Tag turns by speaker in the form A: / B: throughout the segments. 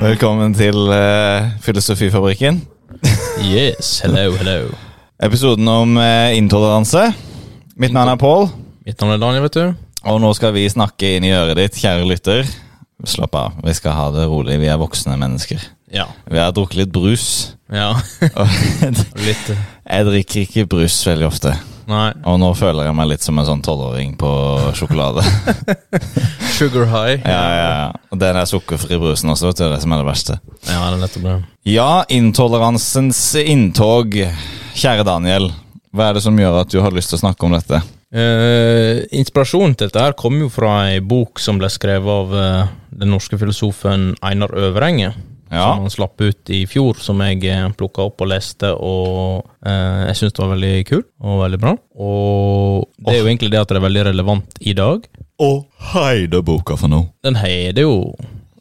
A: Velkommen til eh, Filosofifabrikken.
B: Yes, hello, hello.
A: Episoden om eh, intoleranse. Mitt navn er Pål,
B: Mitt navn er Daniel, vet du.
A: og nå skal vi snakke inn i øret ditt, kjære lytter. Slapp av, vi skal ha det rolig. Vi er voksne mennesker.
B: Ja.
A: Vi har drukket litt brus.
B: ja.
A: Og
B: Litt eh,
A: jeg drikker ikke brus veldig ofte,
B: Nei.
A: og nå føler jeg meg litt som en sånn tolvåring på sjokolade.
B: Sugar high.
A: Ja, ja, ja. Og den er sukkerfri brusen også, vet du. Det er det som er det verste.
B: Ja, det er nettopp det.
A: Ja, intoleransens inntog. Kjære Daniel, hva er det som gjør at du har lyst til å snakke om dette?
B: Eh, inspirasjonen til dette her kom jo fra ei bok som ble skrevet av eh, den norske filosofen Einar Øverenge.
A: Ja.
B: Som han slapp ut i fjor, som jeg plukka opp og leste, og eh, jeg syns det var veldig kul og veldig bra. Og det er jo egentlig det at det er veldig relevant i dag.
A: Og heide boka for noe.
B: Den heter jo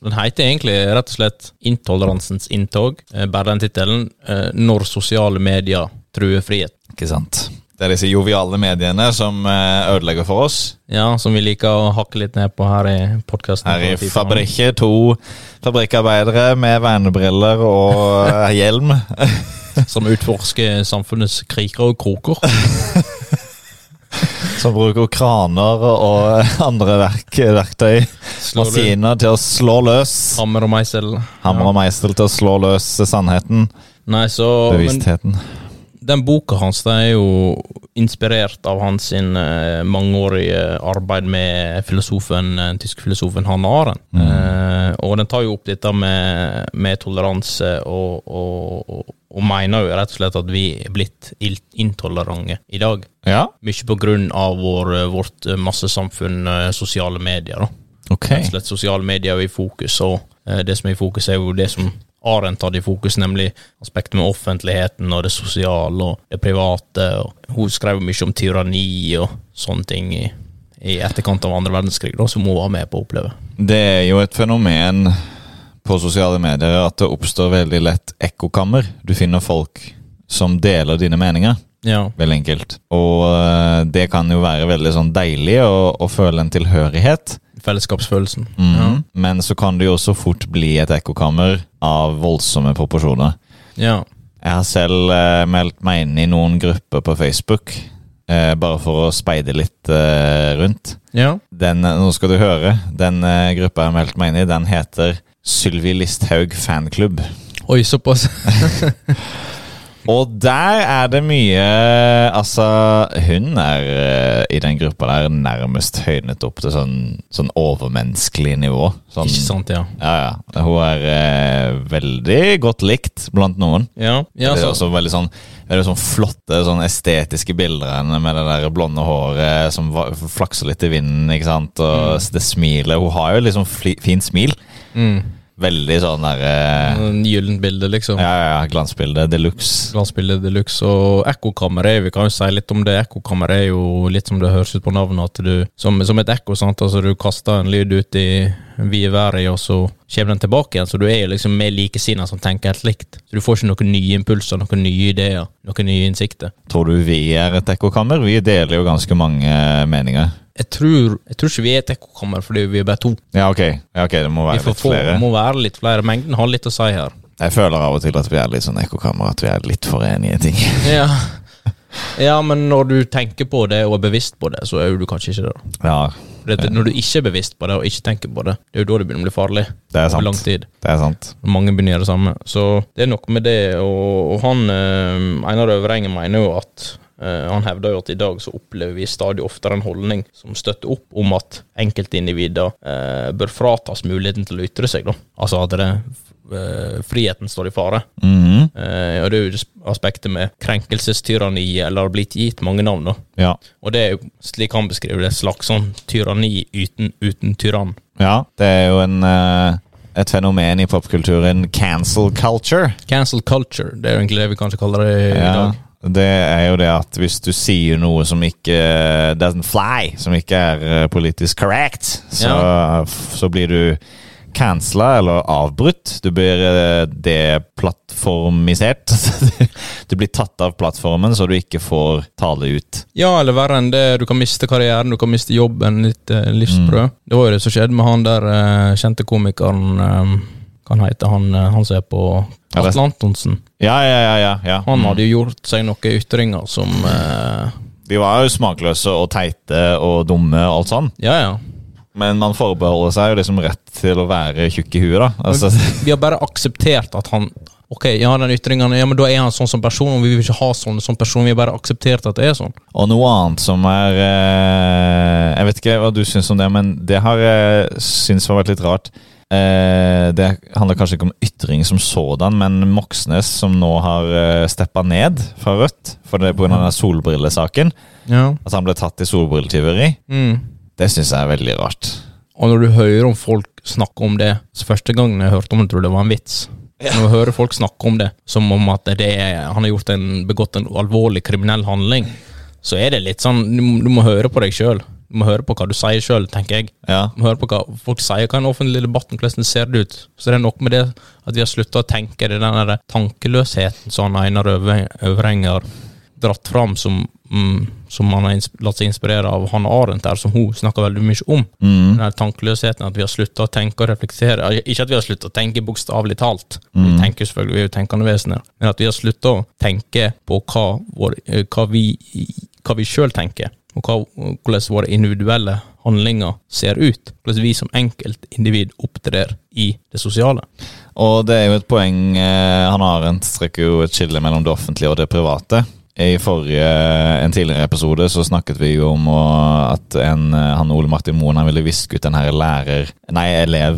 B: Den heter egentlig rett og slett 'Intoleransens inntog'. eh, Bare den tittelen. eh, 'Når sosiale medier truer frihet'.
A: Ikke sant. Det er disse joviale mediene som eh, ødelegger for oss.
B: Ja, Som vi liker å hakke litt ned på her i podkasten.
A: Her i fabrikket to fabrikkarbeidere med vernebriller og eh, hjelm.
B: Som utforsker samfunnets kriker og kroker.
A: Som bruker kraner og eh, andre verk, verktøy,
B: løs.
A: maskiner, til å slå løs.
B: Hammer og meisel.
A: Hammer og meisel til å slå løs sannheten,
B: Nei, så men
A: bevisstheten.
B: Den boka hans det er jo inspirert av hans sin, eh, mangeårige arbeid med filosofen, eh, den tyske filosofen Hanne Arendt. Eh, og den tar jo opp dette med, med toleranse, og, og, og, og mener jo rett og slett at vi er blitt il- intolerante i dag.
A: Ja,
B: Mye på grunn av vår, eh, vårt massesamfunn, eh, sosiale medier. da
A: ok.
B: rett og slett sosiale medier er i fokus, og eh, det som er i fokus, er jo det som Arendt hadde i fokus, nemlig aspektet med offentligheten og det sosiale og det private. Og hun skrev mye om tyranni og sånne ting i, i etterkant av andre verdenskrig, da, som hun var med på å oppleve.
A: Det er jo et fenomen på sosiale medier at det oppstår veldig lett ekkokammer. Du finner folk som deler dine meninger,
B: Ja.
A: veldig enkelt. Og eh, det kan jo være veldig sånn deilig å, å føle en tilhørighet.
B: Fellesskapsfølelsen.
A: Mhm. Men så kan det jo også fort bli et ekkokammer av voldsomme proporsjoner.
B: Ja.
A: Jeg har selv eh, meldt meg inn i noen grupper på Facebook, eh, bare for å speide litt eh, rundt.
B: Ja.
A: Den, eh, nå skal du høre. Den eh, gruppa jeg har meldt meg inn i, den heter Sylvi Listhaug fanklubb.
B: Oi, såpass.
A: Og der er det mye Altså, hun er eh, i den gruppa der nærmest høynet opp til sånn, sånn overmenneskelig nivå. Sånn,
B: Ikke sant, ja.
A: Ja, ja. Hun er eh, veldig godt likt blant noen.
B: Ja, ja
A: det er
B: så,
A: også veldig sånn, veldig sånn flotte sånn estetiske bilder av henne med det der blonde håret som va- flakser litt i vinden. ikke sant? Og s- det smilet. Hun har jo liksom fli, fint smil.
B: mm.
A: Veldig sånn der eh,
B: En Gyllent bilde, liksom.
A: ja, ja, ja, glansbilde de luxe.
B: Glansbildet de luxe og ekkokammer er vi kan jo si litt om det. Ekkokammer er jo litt som det høres ut på navnet, at du som, som et ekko, sant. Altså du kaster en lyd ut i vide været, og så kommer den tilbake igjen. Så du er liksom med likesinnede som tenker helt likt. Så du får ikke noen nye impulser, noen nye ideer, noen nye innsikter.
A: Tror du vi er et ekkokammer? Vi deler jo ganske mange eh, meninger.
B: Jeg tror, jeg tror ikke vi er et ekkokammer fordi vi er bare to.
A: Ja, ok. Ja, ok, Det må
B: Vi
A: være
B: får
A: litt
B: få,
A: flere.
B: må være litt flere. Mengden har litt å si her.
A: Jeg føler av og til at vi er litt sånn ekkokammer, at vi er litt for enige i ting.
B: Ja. ja, men når du tenker på det og er bevisst på det, så er jo du kanskje ikke det. da
A: Ja,
B: For det, Når du ikke er bevisst på det og ikke tenker på det, det er jo da det begynner å bli farlig.
A: det er
B: Over lang
A: sant.
B: tid.
A: Det er sant.
B: Mange begynner å gjøre det samme. Så det er noe med det, og, og han eh, Einar Øvrengen mener jo at eh, han hevder jo at i dag så opplever vi stadig oftere en holdning som støtter opp om at enkeltindivider eh, bør fratas muligheten til å ytre seg, da. Altså at det, eh, friheten står i fare.
A: Mhm.
B: Eh, og det er jo det aspektet med krenkelsestyranni, eller har blitt gitt mange navn, da.
A: Ja.
B: Og det er jo, slik han beskriver det, et slags sånn tyranni uten, uten tyrann.
A: ja, det er jo en, eh, et fenomen i popkulturen cancel culture.
B: Cancel culture, det er jo egentlig det vi kanskje kaller det i
A: Ja,
B: dag.
A: det er jo det at hvis du sier noe som ikke eh, doesn't fly, som ikke er eh, politisk correct, så, så blir du cancela eller avbrutt. Du blir eh, deplattformisert. Du blir tatt av plattformen, så du ikke får tale ut.
B: Ja, eller verre enn det, du kan miste karrieren, du kan miste
A: Mm.
B: jobben, ditt eh, livsbrød. Det var jo det som skjedde med han der eh, kjente komikeren eh, Hva han heter han, eh, han som er på
A: Ja, det- Mm.
B: Atle Antonsen?
A: Ja, ja, ja. ja, ja.
B: Han hadde jo gjort seg noen ytringer som eh,
A: De var jo smakløse og teite og dumme og alt sånn.
B: Ja, ja.
A: Men man forbeholder seg jo liksom rett til å være tjukk i huet, da. Altså,
B: Vi har bare akseptert at han Ok, ja, den ytringen, ja, men da er han sånn som person, og vi vil ikke ha sånn som person. Vi har bare akseptert at det er sånn.
A: og noe annet som er eh, Jeg vet ikke hva du syns om det, men det har jeg syns har vært litt rart. Eh, det handler kanskje ikke om ytring som sådan, men Moxnes som nå har eh, steppa ned fra Rødt for det pga. solbrillesaken.
B: Ja.
A: At han ble tatt i solbrilletyveri.
B: Mm.
A: Det syns jeg er veldig rart.
B: Og når du hører om folk snakke om det så Første gangen jeg hørte om det, trodde jeg det var en vits. Når du hører folk snakke om det som om at det er, han har gjort en, begått en alvorlig kriminell handling, så er det litt sånn Du, må- du må høre på deg sjøl. Du må høre på hva du sier sjøl, tenker jeg.
A: Ja.
B: Du må høre på hva folk sier. Hva er den offentlige debatten? Hvordan ser det ut? Så det er noe med det at vi har slutta å tenke det er den der tankeløsheten som han Einar Øve- Øvreng har dratt fram, som, mm, som han har ins- latt seg inspirere av Hanne Arendt, der, som hun snakker veldig mye om
A: Mm.
B: den her tankeløsheten, at vi har slutta å tenke og reflektere. Al- Ikke at vi har slutta å tenke bokstavelig talt, vi tenker selvfølgelig, vi er jo tenkende vesener, men at vi har slutta å tenke på hva, vår, eh, hva vi, hva vi sjøl tenker, og hva, hvordan våre individuelle handlinger ser ut. Hvordan vi som enkeltindivid opptrer i det sosiale.
A: Og det er jo et poeng eh, Han Arendt trekker jo et skille mellom det offentlige og det private. I forrige, eh, en tidligere episode så snakket vi jo om å- at en, eh, han Ole Martin Moen han ville viske ut den her lærer... Nei,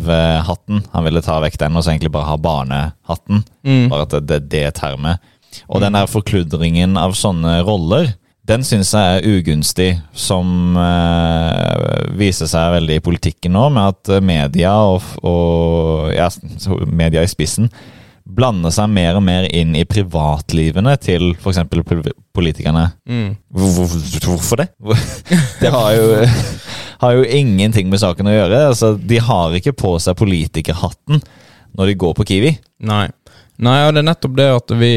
A: elevhatten. Han ville ta vekk den og så egentlig bare ha barnehatten.
B: Mm.
A: Bare at det er det termet. Og den der forkludringen av sånne roller, den syns jeg er ugunstig. Som eh, viser seg veldig i politikken nå, med at eh, media og, og ja, så media i spissen blander seg mer og mer inn i privatlivene til f.eks. politikerne. Hvor- hvor- hvor- Hvorfor det? Hvor- Det har jo, har jo ingenting med saken å gjøre. Altså, de har ikke på seg politikerhatten når de går på Kiwi.
B: Nei. Nei, og det er nettopp det at vi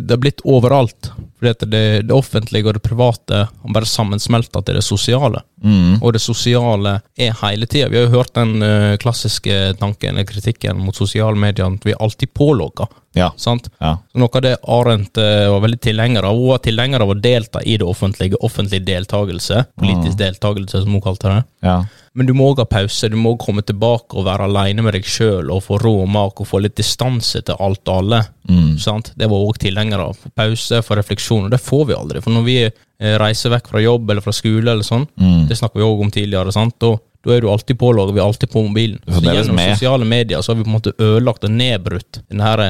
B: Det er blitt overalt. Fordi at det, det offentlige og det private har bare sammensmelta til det sosiale.
A: Mm.
B: Og det sosiale er hele tida. Vi har jo hørt den eh, klassiske tanken eller kritikken mot sosiale medier at vi er alltid pålogga.
A: Ja.
B: Sant?
A: ja.
B: Så Noe av det Arendt eh, var veldig tilhenger av. Hun var tilhenger av å delta i det offentlige. Offentlig deltakelse. Politisk deltakelse, som hun kalte det.
A: ja.
B: Men du må òg ha pause. Du må komme tilbake og være aleine med deg sjøl og få rå mak og få litt distanse til alt og alle.
A: Mm.
B: Sant? Det var òg tilhengere av. For Pause for refleksjon. Og det får vi aldri. For når vi eh, reiser vekk fra jobb eller fra skole, eller sånn,
A: Mm.
B: det snakka vi òg om tidligere, sant? Da, da er du alltid pålogget, vi er alltid på mobilen.
A: Du får
B: Så
A: med deg
B: gjennom
A: med.
B: sosiale medier så har vi på en måte ødelagt og nedbrutt den her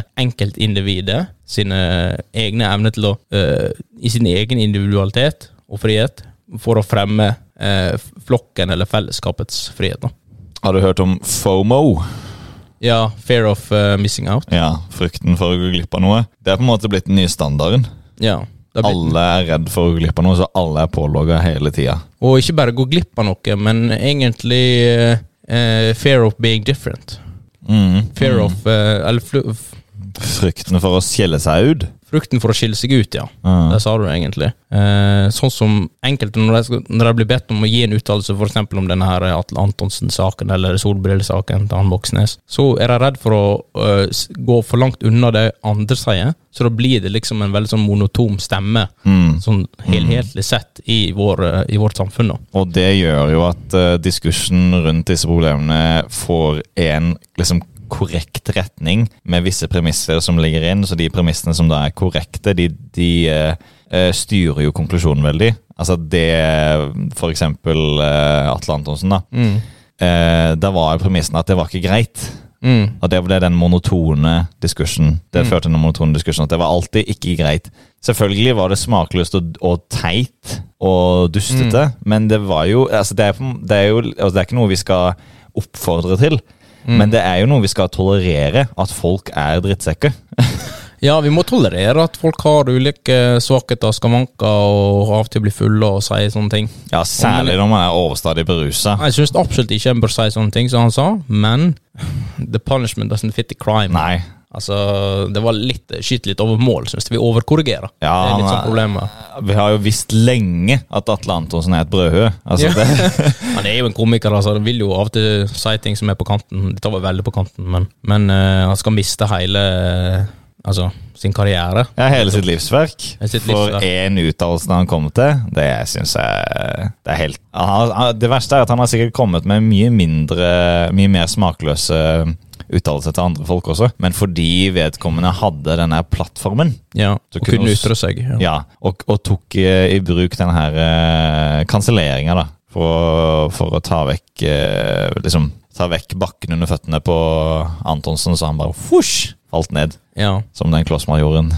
B: enkeltindividet sine egne evner til å eh, I sin egen individualitet og frihet for å fremme eh, flokken eller fellesskapets frihet. da.
A: Har du hørt om FOMO?
B: Ja, fear of eh, missing out.
A: Ja, frykten for å gå glipp av noe. Det er på en måte blitt den nye standarden.
B: Ja. det har blitt-
A: Alle er redd for å gå glipp av noe, så alle er pålogga hele tida.
B: Og ikke bare gå glipp av noe, men egentlig eh, eh, fear of being different.
A: Mm.
B: Fear of eh, Eller flu- f-
A: Frykten for å skjelle seg ut.
B: frukten for å skille seg ut, ja.
A: Mm.
B: Det sa du egentlig. Eh, sånn som enkelte når de, skal- når de blir bedt om å gi en uttalelse for eksempel om denne her Atle Antonsen-saken eller solbrillesaken til han Voksnes, så er de redd for å eh, s- gå for langt unna det andre sier. Så da blir det liksom en veldig sånn monotom stemme,
A: Mm.
B: sånn helhetlig sett, i, vår, eh, i vårt samfunn. da.
A: Og det gjør jo at eh, diskursen rundt disse problemene får en liksom korrekt retning med visse premisser som ligger inn. Så de premissene som da er korrekte, de, de eh, eh, styrer jo konklusjonen veldig. Altså det For eksempel eh, Atle Antonsen, da. Eh, der var jo premissen at det var ikke greit.
B: Mm.
A: Og det ble den monotone diskursen. Det førte til den monotone diskursen At det var alltid ikke greit. Selvfølgelig var det smakløst og, og teit og dustete, men det var jo altså det, er, på- det er jo altså Det er ikke noe vi skal oppfordre til. Men det er jo noe vi skal tolerere, at folk er drittsekker.
B: Ja, vi må tolerere at folk har ulike svakheter, skavanker og av og til blir fulle og sier sånne ting.
A: Ja, Særlig når man er overstadig berusa.
B: Jeg syns absolutt ikke en bør si sånne ting som han sa, men the punishment doesn't fit the crime.
A: Nei.
B: Altså, det var litt Skyter litt over mål, syns jeg. Vi overkorrigerer.
A: Ja,
B: det er
A: han
B: litt sånn
A: er-
B: problemet.
A: Vi har jo visst lenge at Atle Antonsen er et brødhue. Altså,
B: Ja.
A: det,
B: Han er jo en komiker, altså. Han vil jo av og til si ting som er på kanten. Dette var veldig på kanten, men, men eh, han skal miste hele eh, Altså, sin karriere.
A: ja, hele sitt livsverk.
B: Hele sitt
A: For
B: livsverk.
A: én uttalelse han kom til, det syns jeg det er helt han, han, Det verste er at han har sikkert kommet med mye mindre, mye mer smakløse uttalelser til andre folk også, men fordi vedkommende hadde denne plattformen,
B: Ja,
A: Så
B: og
A: kunne
B: kunne
A: oss-
B: ytre seg. Ja.
A: ja, og, og tok eh, i bruk denne her eh, kanselleringa, da, for å, for å ta vekk eh, liksom, ta vekk bakken under føttene på Antonsen, så han bare fush, falt ned,
B: Ja.
A: som den klossmajoren.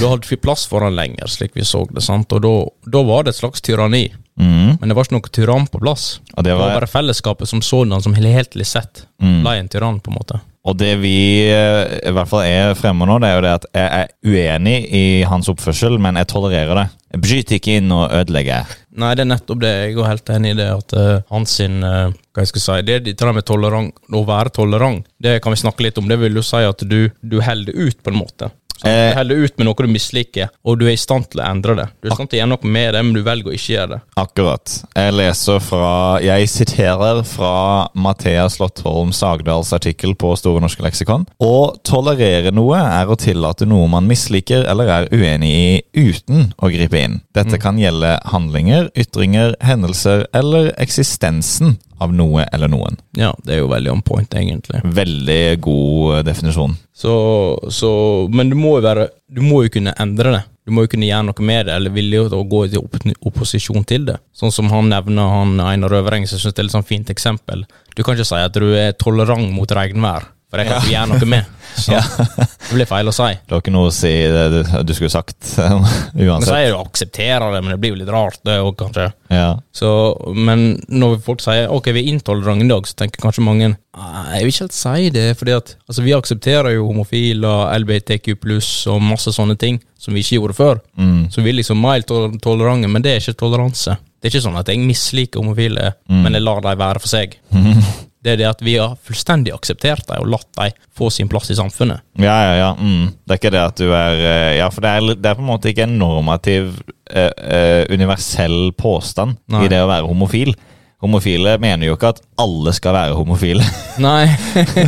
B: Da hadde vi plass for han lenger, slik vi så det, sant? og da, da var det et slags tyranni.
A: Mhm,
B: Men det var ikke noen tyrann på plass.
A: og det
B: Det var
A: var
B: bare fellesskapet som sådan, som helhetlig sett
A: Mm.
B: ble en tyrann, på en måte.
A: Og det vi eh, i hvert fall er fremme nå, det er jo det at jeg er uenig i hans oppførsel, men jeg tolererer det. Jeg bryter ikke inn og ødelegger.
B: Nei, det er nettopp det. Jeg er helt enig i det at eh, hans sin eh, Hva jeg skal si Det dette der med tolerant, å være tolerant, det kan vi snakke litt om. Det vil jo si at du, du holder ut, på en måte. Så
A: Eh.
B: du holder ut med noe du misliker, og du er i stand til å endre det.
A: Ah.
B: Du er i stand til å gjøre noe med det, men du velger å ikke gjøre det.
A: Akkurat. Jeg leser fra Jeg siterer fra Mathea Slottholm Sagdals artikkel på Store norske leksikon. Å tolerere noe er å tillate noe man misliker eller er uenig i uten å gripe inn. Dette kan gjelde handlinger, ytringer, hendelser eller eksistensen av noe eller noen.
B: Ja, det er jo veldig on point, egentlig.
A: Veldig god eh, definisjon.
B: Så, så Men du må jo være Du må jo kunne endre det. Du må jo kunne gjøre noe med det, eller vilje til å gå i opp opposisjon til det. Sånn som han nevner, han Einar Øvereng, så jeg synes det er et sånn fint eksempel. Du kan ikke si at du er tolerant mot regnvær, for det kan du gjøre noe med. Så det blir feil å si.
A: Det var ikke noe å si det du- du skulle sagt
B: Men
A: uansett.
B: så er jeg jo aksepterer det, men det blir jo litt rart, det òg, kanskje.
A: Ja.
B: Så, men når folk sier ok, vi er intolerante i dag, så tenker kanskje mange «Nei, jeg vil ikke helt si det, fordi at altså, vi aksepterer jo homofile, LBTQ og masse sånne ting som vi ikke gjorde før.
A: Mm.
B: Så vi er liksom mild tol- tolerante, men det er ikke toleranse. Det er ikke sånn at jeg misliker homofile,
A: Mm.
B: men jeg lar dem være for seg. Det er det at vi har fullstendig akseptert dem og latt dem få sin plass i samfunnet.
A: Ja, ja, ja. Mm. Det er ikke det at du er eh, Ja, for det er, det er på en måte ikke en normativ, eh, eh, universell påstand
B: Nei.
A: i det å være homofil. Homofile mener jo ikke at alle skal være homofile.
B: Nei.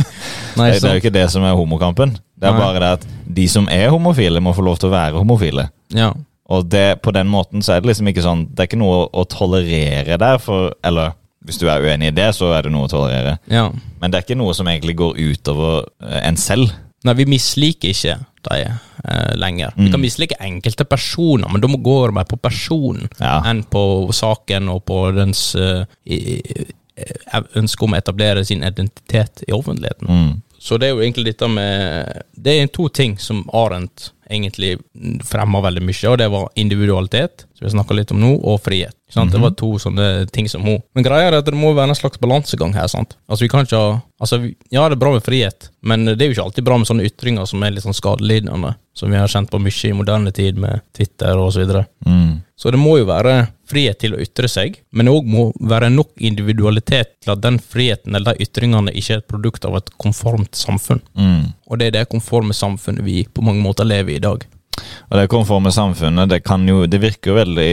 A: Det, det
B: Nei,
A: er
B: sant.
A: jo ikke det som er homokampen. Det er
B: Nei.
A: bare det at de som er homofile, må få lov til å være homofile.
B: Ja.
A: Og det, på den måten så er det liksom ikke sånn Det er ikke noe å, å tolerere der, for Eller hvis du er uenig i det, så er det noe å tolerere.
B: ja.
A: Men det er ikke noe som egentlig går utover eh, en selv.
B: Nei, vi misliker ikke de eh, lenger. Vi kan mislike enkelte personer, men da må gå mer på personen
A: Ja.
B: enn på saken og på dens eh, i- i- eh, ønske om å etablere sin identitet i offentligheten.
A: Mm.
B: Så det er jo egentlig dette med Det er to ting som Arendt egentlig fremma veldig mye, og det var individualitet, som vi snakka litt om nå, og frihet. Ikke sant? Det var to sånne ting som hun Men greia er at det må være en slags balansegang her, sant. Altså, vi kan ikke ha Altså, vi- ja, det er bra med frihet, men det er jo ikke alltid bra med sånne ytringer som er litt sånn skadelidende, som vi har kjent på mye i moderne tid med Twitter og så videre.
A: Mm.
B: Så det må jo være frihet til å ytre seg, men det òg må være nok individualitet til at den friheten eller de ytringene ikke er et produkt av et konformt samfunn.
A: Mm.
B: Og det er det konforme samfunnet vi på mange måter lever i i dag.
A: Og det konforme samfunnet, det, kan jo, det virker jo veldig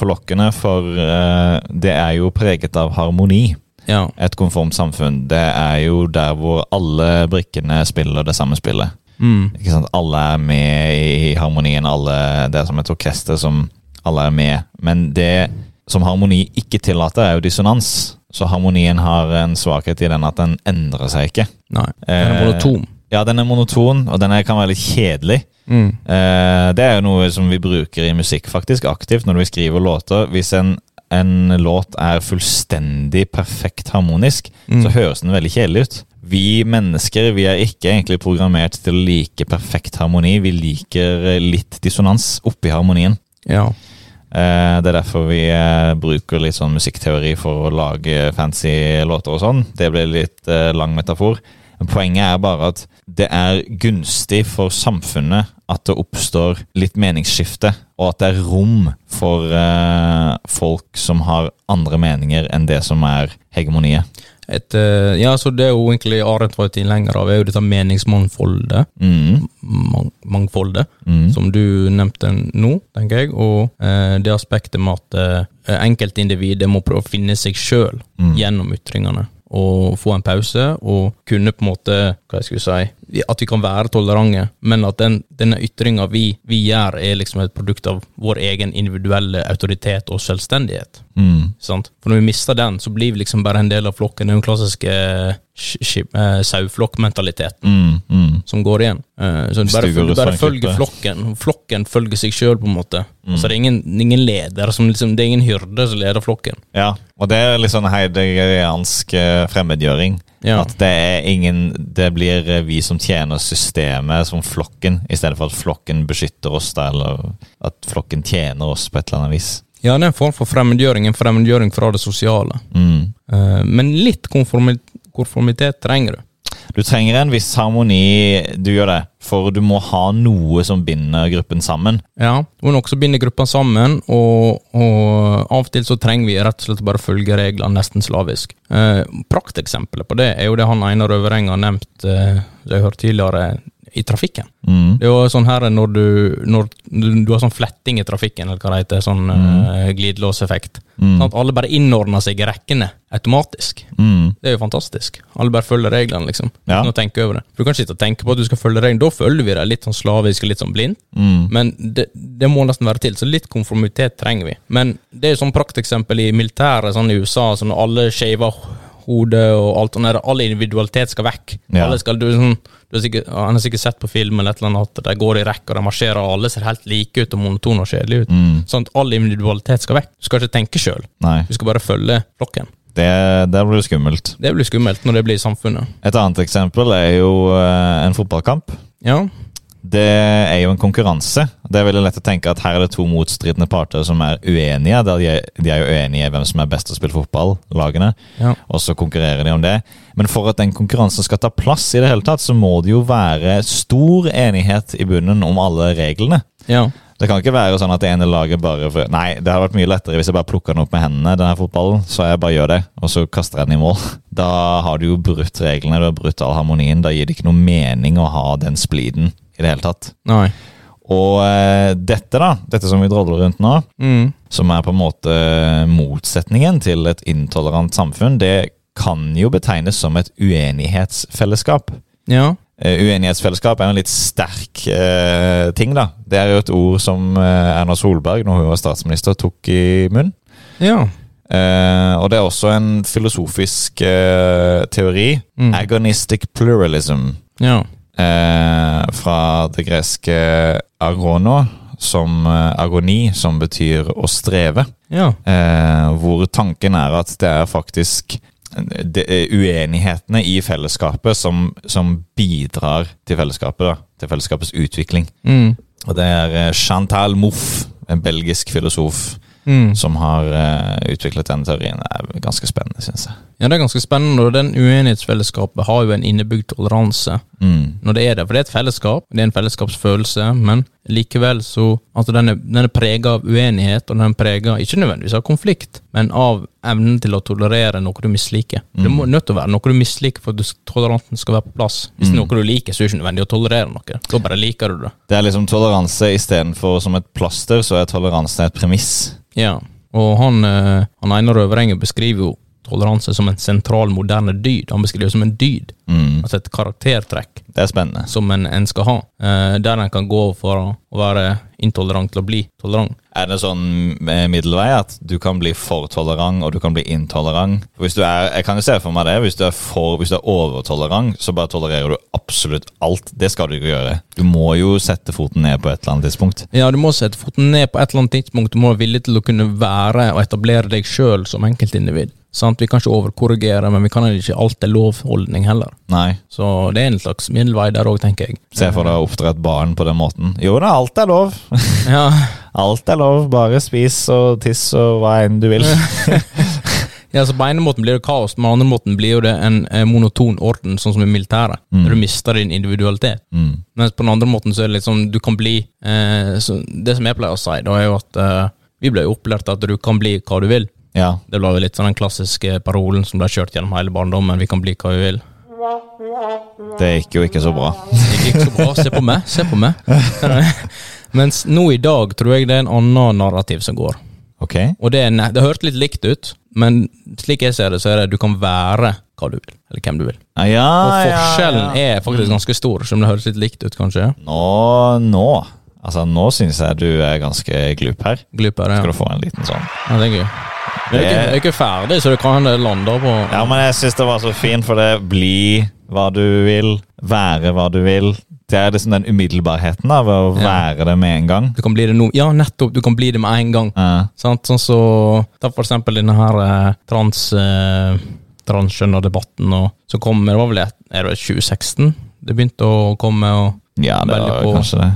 A: forlokkende, for eh, det er jo preget av harmoni.
B: Ja,
A: Et konformt samfunn, det er jo der hvor alle brikkene spiller det samme spillet.
B: mm.
A: Ikke sant? Alle er med i harmonien, alle, det er som et orkester som alle er med. Men det som harmoni ikke tillater, er jo dissonans. Så harmonien har en svakhet i den at den endrer seg ikke.
B: nei. Den er
A: Eh,
B: monotom.
A: Ja, den er monoton, og den er- kan være litt kjedelig. Eh, det er jo noe som vi bruker i musikk faktisk aktivt når vi skriver låter. Hvis en, en låt er fullstendig perfekt harmonisk,
B: Mm.
A: så høres den veldig kjedelig ut. Vi mennesker vi er ikke egentlig programmert til å like perfekt harmoni. Vi liker eh, litt dissonans oppi harmonien.
B: Ja.
A: Eh, Det er derfor vi eh, bruker litt sånn musikkteori for å lage fancy låter og sånn. Det blir litt eh, lang metafor. Men Poenget er bare at det er gunstig for samfunnet at det oppstår litt meningsskifte, og at det er rom for eh, folk som har andre meninger enn det som er hegemoniet.
B: et, eh, ja, så det er jo egentlig Arendt var tilhenger av, er jo dette meningsmangfoldet.
A: Mm.
B: Mang, mangfoldet,
A: Mm.
B: som du nevnte nå, tenker jeg. Og eh, det aspektet med at eh, enkeltindividet må prøve å finne seg sjøl
A: Mm.
B: gjennom ytringene. Og få en pause, og kunne på en måte hva jeg skulle si, vi- At vi kan være tolerante, men at den, denne ytringa vi, vi gjør, er liksom et produkt av vår egen individuelle autoritet og selvstendighet.
A: Mm.
B: Sant? For når vi mister den, så blir vi liksom bare en del av flokken. Det er jo den klassiske eh, sk- skip- eh, saueflokkmentaliteten
A: Mm. Mm.
B: som går igjen. Eh, så
A: Stygge
B: du bare, du bare
A: restaurantklipper.
B: følger flokken, og flokken følger seg sjøl, på en måte. Altså, det er ingen, ingen leder som liksom, Det er ingen hyrde som leder flokken.
A: Ja, og det er litt sånn heidegeriansk eh, fremmedgjøring.
B: Ja.
A: At det er ingen Det blir eh, vi som tjener systemet som flokken, i stedet for at flokken beskytter oss, da, eller at flokken tjener oss på et eller annet vis.
B: Ja, det er en form for fremmedgjøring, en fremmedgjøring fra det sosiale.
A: Mm.
B: Eh, men litt konformi konformitet trenger du.
A: Du trenger en viss harmoni, du gjør det, for du må ha noe som binder gruppen sammen.
B: Ja, og noe som binder gruppa sammen, og, og av og til så trenger vi rett og slett bare følge reglene nesten slavisk. Eh, Prakteksempelet på det er jo det han Einar Øvereng har nevnt, eh, som jeg hørte tidligere, i trafikken.
A: Mm.
B: Det er jo sånn her når du, når du, du har sånn fletting i trafikken, eller hva det heter, sånn eh, glidelåseffekt.
A: Mm.
B: Sånn at alle bare innordner seg i rekkene automatisk.
A: Mm.
B: Det er jo fantastisk. Alle bare følger reglene, liksom.
A: Ja.
B: Uten å tenke over det. For Du kan ikke sitte og tenke på at du skal følge reglene. Da følger vi det litt sånn slavisk og litt sånn blindt.
A: Mm.
B: Men det, det må nesten være til, så litt konformitet trenger vi. Men det er jo sånn prakteksempel i militæret sånn i USA, sånn når alle shaver hodet og alt sånn der, all individualitet skal vekk.
A: Ja.
B: Alle skal, du, er sånn, du har sikkert, han har sikkert sett på film eller et eller annet at de går i rekke og de marsjerer, og alle ser helt like ut og monotone og kjedelige ut.
A: Mm.
B: Sånn at all individualitet skal vekk. Du skal ikke tenke sjøl,
A: Nei,
B: du skal bare følge flokken.
A: det, det blir skummelt.
B: Det blir skummelt når det blir i samfunnet.
A: Et annet eksempel er jo eh, en fotballkamp.
B: Ja,
A: Det er jo en konkurranse. Det er veldig lett å tenke at her er det to motstridende parter som er uenige. Der de, er, de er jo uenige i hvem som er best til å spille fotball, lagene,
B: ja.
A: og så konkurrerer de om det. Men for at den konkurransen skal ta plass i det hele tatt, så må det jo være stor enighet i bunnen om alle reglene.
B: ja.
A: Det kan ikke være sånn at det ene laget bare for, Nei, det hadde vært mye lettere hvis jeg bare plukka den opp med hendene, denne fotballen, så jeg bare gjør det, og så kaster jeg den i mål. Da har du jo brutt reglene, du har brutt all harmonien. Da gir det ikke noe mening å ha den spliden i det hele tatt.
B: Nei.
A: Og eh, dette, da, dette som vi drodler rundt nå,
B: Mm.
A: som er på en måte eh, motsetningen til et intolerant samfunn, det kan jo betegnes som et uenighetsfellesskap.
B: Ja.
A: Eh, Uenighetsfellesskap er en litt sterk eh, ting, da. Det er jo et ord som eh, Erna Solberg, når hun var statsminister, tok i munn.
B: Ja.
A: Eh, og det er også en filosofisk eh, teori.
B: Mm.
A: Agonistic pluralism.
B: Ja.
A: eh, fra det greske agono, som eh, agoni, som betyr å streve.
B: Ja.
A: Eh, hvor tanken er at det er faktisk det er uenighetene i fellesskapet som, som bidrar til fellesskapet, da, til fellesskapets utvikling.
B: Mm.
A: Og det er eh, Chantal Mouffe, en belgisk filosof,
B: Mm.
A: som har eh, utviklet denne teorien. Det er ganske spennende, syns jeg.
B: Ja, det er ganske spennende, og den uenighetsfellesskapet har jo en innebygd toleranse
A: Mm.
B: når det er det, for det er et fellesskap, det er en fellesskapsfølelse, men likevel så Altså, den er, den er prega av uenighet, og den er prega ikke nødvendigvis av konflikt, men av evnen til å tolerere noe du misliker. Det må nødt til å være noe du misliker for at du- toleranten skal være på plass. Hvis det er noe du liker, så er det ikke nødvendig å tolerere noe. Da bare liker du det.
A: Det er liksom toleranse istedenfor som et plaster, så er toleranse et premiss.
B: Ja, og han, eh, han Einar Øverenge beskriver jo toleranse som en sentral, moderne dyd. Han beskriver det som en dyd,
A: Mm.
B: altså et karaktertrekk.
A: Det er spennende.
B: som en, en skal ha. Eh, der en kan gå fra å være intolerant til å bli tolerant.
A: Er det sånn eh, middelvei at du kan bli for tolerant og du kan bli intolerant? Hvis du er, jeg kan jo se for meg det. Hvis du er, for, hvis du er overtolerant, så bare tolererer du absolutt alt. Det skal du ikke gjøre. Du må jo sette foten ned på et eller annet tidspunkt.
B: Ja, du må sette foten ned på et eller annet tidspunkt. Du må være villig til å kunne være og etablere deg sjøl som enkeltindivid. Sant? Vi kan ikke overkorrigere, men vi kan heller ikke alt er lovholdning heller.
A: Nei.
B: Så det er en slags middelvei der òg, tenker jeg.
A: Se for deg å oppdra et barn på den måten. Jo da, alt er lov.
B: Ja,
A: Alt er lov. Bare spis og tiss og hva enn du vil.
B: ja så På ene måten blir det kaos, men på den andre måten blir jo det en, eh, monoton orden, sånn som i militæret. Der du mister din individualitet.
A: Mm.
B: Mens på den andre måten så er det liksom Du kan bli eh, så Det som jeg pleier å si, da er jo at eh, vi ble jo opplært at du kan bli hva du vil.
A: Ja.
B: Det ble jo litt sånn den klassiske parolen som ble kjørt gjennom hele barndommen. Vi kan bli hva vi vil.
A: Det gikk jo ikke så bra.
B: Det gikk ikke så bra. Se på meg, se på meg. Mens nå i dag tror jeg det er en annen narrativ som går.
A: Ok.
B: Og det, er ne- det hørtes litt likt ut, men slik jeg ser det, så er det du kan være hva du vil, eller hvem du vil.
A: Ah, ja,
B: Og
A: ja,
B: forskjellen
A: ja.
B: er faktisk ganske stor, som det høres litt likt ut, kanskje.
A: Nå, nå. Altså, nå syns jeg du er ganske glup her.
B: Glupere,
A: Skal
B: ja.
A: du få en liten sånn?
B: ja. Det er gøy. Vi er, ikke- vi er ikke ferdig, så det kan hende det lander på
A: Ja, men jeg syns det var så fint, for det bli hva du vil, være hva du vil. Det er liksom den umiddelbarheten av å være det med en gang.
B: Du kan bli det nå. Ja, nettopp! Du kan bli det med en gang.
A: Ja.
B: Sant? Sånn så, ta for eksempel denne her eh, trans... Eh, Transkjønnerdebatten og så kommer det var vel et, er det 2016 det begynte å komme og
A: ja, det
B: Veldig
A: var
B: på-
A: kanskje det.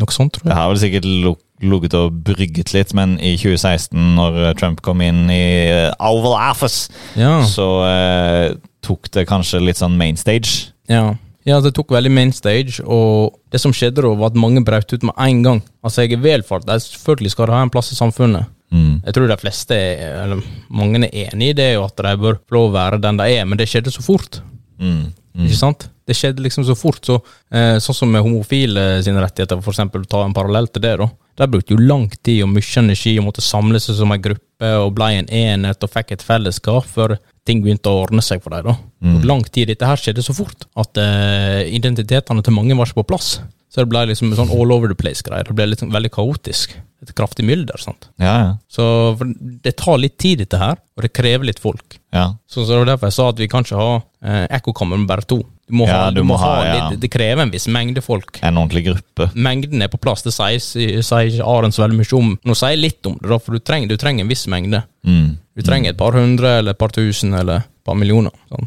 B: noe sånt, tror jeg.
A: Det har vel sikkert luk- ligget og brygget litt, men i 2016, når Trump kom inn i eh, Oval Office,
B: Ja.
A: så eh, tok det kanskje litt sånn mainstage.
B: Ja. ja, det tok veldig main stage, og det som skjedde da, var at mange brøt ut med en gang. Altså, jeg er velfart, jeg selvfølgelig skal det ha en plass i samfunnet.
A: Mm.
B: Jeg tror de fleste, er- eller mange er enig i det, og at de bør få lov å være den de er, men det skjedde så fort.
A: Mm.
B: Ikke sant? Det skjedde liksom så fort, så, eh, sånn som med homofile sine rettigheter, for eksempel, ta en parallell til det, da. De brukte jo lang tid og mye energi og måtte samle seg som en gruppe og ble en enhet og fikk et fellesskap før ting begynte å ordne seg for dem, da. Og Lang tid dette her skjedde så fort at eh, identitetene til mange var ikke på plass. Så det ble liksom en sånn all over the place-greier. Det ble liksom veldig kaotisk. Et kraftig mylder, sant.
A: Ja, ja.
B: Så for det tar litt tid, dette her, og det krever litt folk.
A: ja.
B: Så, så det var derfor jeg sa at vi kan ikke ha eh, ekkokammer med bare to. Du må
A: Ja,
B: ha, du må ha,
A: ja.
B: litt, det krever en viss mengde folk.
A: En ordentlig gruppe.
B: Mengden er på plass, det sier sier ikke Aron så veldig mye om. Nå sier jeg litt om det, da, for du trenger, du trenger en viss mengde.
A: Mm.
B: Du trenger et par hundre, eller et par tusen, eller et par millioner. Sånn.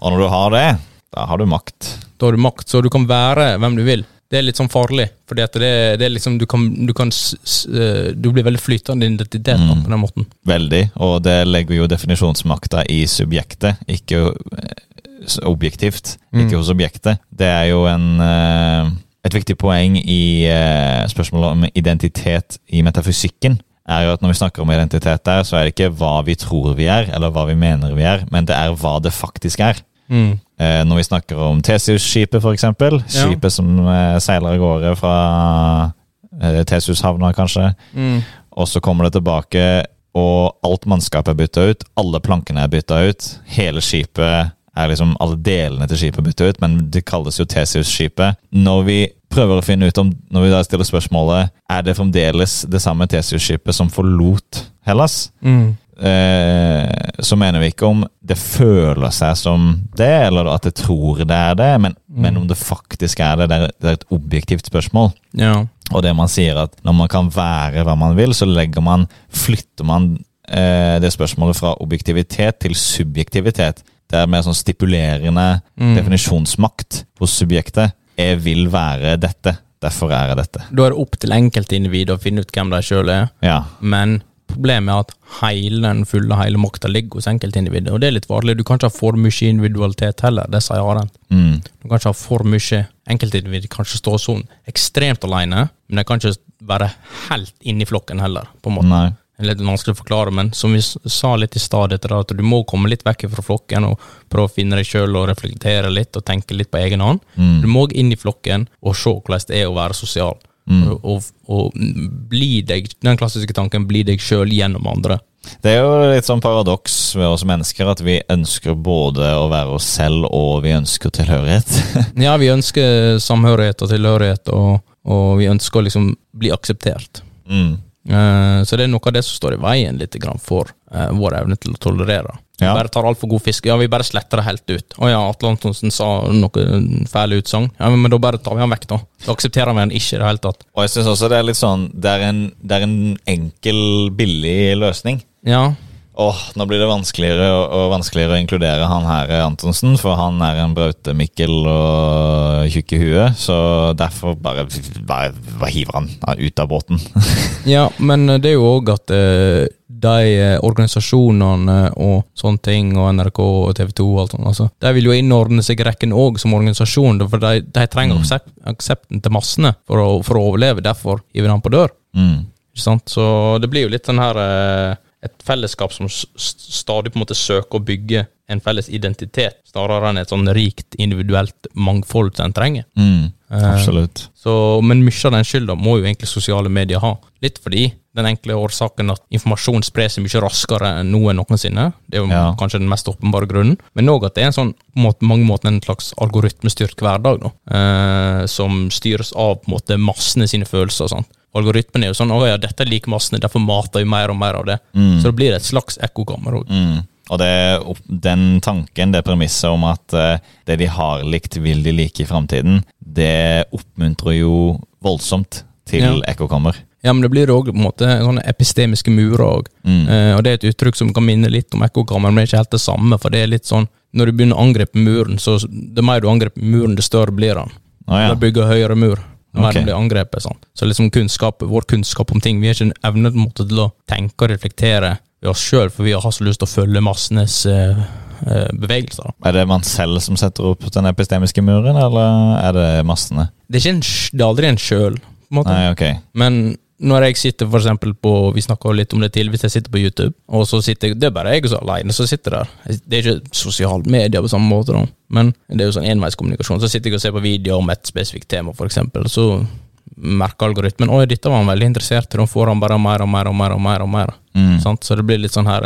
A: Og når du har det, da har du makt.
B: Da har du makt, så du kan være hvem du vil. Det er litt sånn farlig, fordi at det, det er liksom Du kan, du, kan s, s, eh, du blir veldig flytende i identitet da, på den måten.
A: Veldig, og det legger jo definisjonsmakta i subjektet, ikke eh, s- objektivt. Ikke hos objektet. Det er jo en, eh, et viktig poeng i eh, spørsmålet om identitet i metafysikken. er jo at Når vi snakker om identitet der, så er det ikke hva vi tror vi er, eller hva vi mener vi er, men det er hva det faktisk er.
B: Mm.
A: Eh, Når vi snakker om Tesius-skipet, f.eks.
B: Ja.
A: Skipet som eh, seiler av gårde fra eh, Tesius-havna, kanskje.
B: Mm.
A: Og så kommer det tilbake, og alt mannskapet er bytta ut. Alle plankene er bytta ut. Hele skipet er liksom Alle delene til skipet er bytta ut, men det kalles jo Tesius-skipet. Når vi prøver å finne ut om Når vi da stiller spørsmålet Er det fremdeles det samme Tesius-skipet som forlot Hellas,
B: Mm.
A: eh, så mener vi ikke om det føler seg som det, eller at det tror det er det, men, men om det faktisk er det. Det er, det er et objektivt spørsmål.
B: Ja.
A: Og det man sier at når man kan være hva man vil, så legger man, flytter man eh, det spørsmålet fra objektivitet til subjektivitet. Det er mer sånn stipulerende definisjonsmakt hos subjektet. Jeg vil være dette, derfor er jeg dette.
B: Da er det opp til enkeltindividet å finne ut hvem de sjøl er.
A: Ja,
B: Men problemet er at hele den fulle hele makta ligger hos enkeltindividet, og det er litt farlig. Du kan ikke ha for mye individualitet heller, det sier Aren.
A: mm.
B: Du kan ikke ha for mye enkeltindivid. kan ikke stå sånn ekstremt alene, men de kan ikke være helt inni flokken heller, på en måte.
A: Nei.
B: Det er litt vanskelig å forklare, men som vi s- sa litt i stad, etter det, at du må komme litt vekk fra flokken og prøve å finne deg sjøl og reflektere litt og tenke litt på egen hånd. Du må inn i flokken og se hvordan det er å være sosial.
A: Mm.
B: Og, og, og bli deg, den klassiske tanken 'bli deg sjøl gjennom andre'.
A: Det er jo litt sånn paradoks ved oss mennesker at vi ønsker både å være oss selv og vi ønsker tilhørighet.
B: Ja, vi ønsker samhørighet og tilhørighet, og, og vi ønsker å liksom bli akseptert.
A: mm.
B: Eh, Så det er noe av det som står i veien litt grann for eh, vår evne til å tolerere. Vi
A: Ja.
B: bare tar altfor god fisk. Ja, vi bare sletter det helt ut. Å ja, Atle Antonsen sa noe fæle utsagn. Ja, men da bare tar vi han vekk, da. Da aksepterer vi han ikke i det hele tatt.
A: Og jeg syns også det er litt sånn Det er en, det er en enkel, billig løsning.
B: Ja,
A: Åh, nå blir det vanskeligere og, og vanskeligere å inkludere han her eh, Antonsen, for han er en brautemikkel og tjukk i huet, så derfor bare, bare, bare hiver han ja, ut av båten.
B: ja men det er jo òg at eh, de eh, organisasjonene eh, og sånne ting, og NRK og TV 2 og alt sånt, altså, de vil jo innordne seg i rekken òg som organisasjon, da, for de, de trenger aksep aksepten til massene for å, for å overleve. Derfor hiver de han på dør.
A: Mm.
B: Ikke sant? Så det blir jo litt sånn her eh, et fellesskap som s- s- stadig på en måte søker å bygge en felles identitet, snarere enn et sånn rikt individuelt mangfold som en trenger.
A: Mm,
B: Eh,
A: absolutt.
B: Så, men mye av den skylda må jo egentlig sosiale medier ha. Litt fordi den enkle årsaken at informasjon sprer seg mye raskere enn nå enn noensinne. Det er jo
A: Ja.
B: kanskje den mest åpenbare grunnen. Men òg at det er en sånn, på måte, mange måter en slags algoritmestyrt hverdag, da. Eh, som styres av på en måte massene sine følelser og sånn. Algoritmen er jo sånn 'Å ja, dette liker massene, derfor mater vi mer og mer av det'. Så det blir et slags ekkokammer òg.
A: Mm. Og det, er opp- den tanken, det premisset om at eh, det de har likt, vil de like i framtiden, det oppmuntrer jo voldsomt til
B: Ja.
A: ekkokammer.
B: Ja, men det blir òg på en måte sånne epistemiske murer òg.
A: Mm.
B: Eh, og det er et uttrykk som kan minne litt om ekkokammer, men det er ikke helt det samme. For det er litt sånn når du begynner å angripe muren, så det mer du angriper muren, det større blir den.
A: Å ja.
B: Da bygger høyere mur. Det mer
A: Ok.
B: den blir angrepet. Sånn. Så liksom kunnskap, vår kunnskap om ting Vi har ikke evne på en måte til å tenke og reflektere ved oss sjøl, for vi har så lyst til å følge massenes eh, eh, bevegelser. da.
A: Er det man selv som setter opp den epistemiske muren, eller er det massene?
B: Det er, ikke en, sj- det er aldri en sjøl, på en måte.
A: Nei, ok.
B: Men når jeg sitter for eksempel på Vi snakka litt om det til, hvis jeg sitter på YouTube, og så sitter jeg Det er bare jeg som er alene som sitter der. Det er ikke sosiale medier på samme måte, da. Men det er jo sånn enveiskommunikasjon. Så sitter jeg og ser på videoer om et spesifikt tema, for eksempel. Så merker algoritmen Oi, dette var han veldig interessert i, nå får han bare mer og mer og mer og mer. og mer.
A: Mm.
B: Sant? Så det blir litt sånn her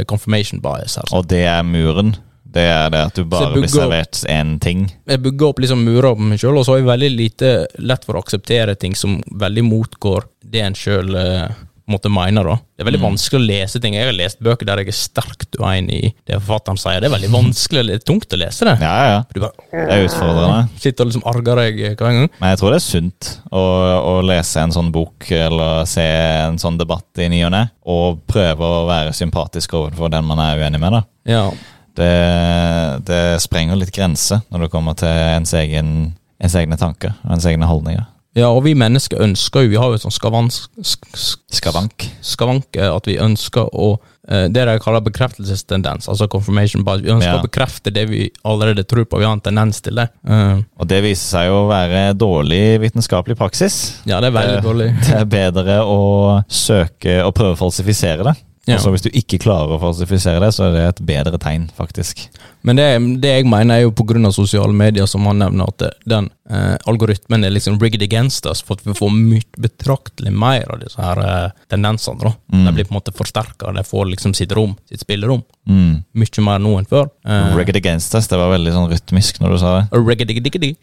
B: eh, confirmation bias her. sant?
A: Og det er muren. Det er det at du bare blir
B: bugger opp.
A: servert én ting.
B: jeg bygger opp liksom murer på meg sjøl, og så har jeg veldig lite lett for å akseptere ting som veldig motgår det en sjøl måtte mene. da. Det er veldig
A: Mm.
B: vanskelig å lese ting. Jeg har lest bøker der jeg er sterkt uenig i det forfatteren sier. Det er veldig vanskelig, det er tungt å lese det.
A: Ja, ja, ja.
B: Du bare
A: Det er utfordrende.
B: sitter og liksom arger deg hver gang.
A: Men jeg tror det er sunt å, å lese en sånn bok eller se en sånn debatt i ny og ne, og prøve å være sympatisk overfor den man er uenig med. da.
B: Ja.
A: Det, det sprenger litt grenser når det kommer til ens, egen, ens egne tanker og ens egne holdninger.
B: ja, og vi mennesker ønsker jo Vi har jo et sånt skavansk... sk- sk-
A: Skavank.
B: skavanke at vi ønsker å eh, Det de kaller bekreftelsestendens, altså confirmation bias. Vi ønsker
A: Ja.
B: å bekrefte det vi allerede tror på. Vi har en tendens til det. Eh,
A: Og det viser seg jo å være dårlig vitenskapelig praksis.
B: ja, det er veldig
A: Det-
B: dårlig.
A: Det er bedre å søke og prøve å falsifisere det.
B: Ja.
A: Og så hvis du ikke klarer å falsifisere det, så er det et bedre tegn, faktisk.
B: Men det, det jeg mener er jo pga. sosiale medier, som han nevner, at det- den eh, algoritmen er liksom rigged against us, for at vi får myt, betraktelig mer av disse her eh, tendensene. da.
A: Mm.
B: De blir på en måte forsterka, de får liksom sitt rom, sitt spillerom,
A: Mm.
B: mye mer nå enn før. Eh,
A: Rigged against us, det var veldig sånn rytmisk når du sa det.
B: rigged-digged-digged.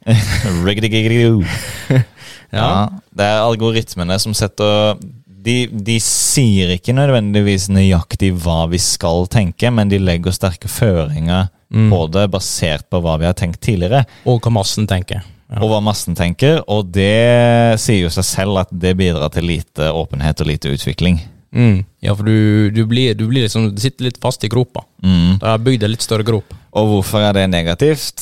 A: Rigged against us.
B: Ja.
A: Ja. Det er algoritmene som setter de, de sier ikke nødvendigvis nøyaktig hva vi skal tenke, men de legger sterke føringer
B: Mm.
A: på det basert på hva vi har tenkt tidligere,
B: Og hva massen tenker. Ja.
A: og hva massen tenker. Og det sier jo seg selv at det bidrar til lite åpenhet og lite utvikling.
B: Mm. Ja, for du, du, blir, du blir liksom Du sitter litt fast i gropa.
A: Mm.
B: De har bygd en litt større grop.
A: Og hvorfor er det negativt?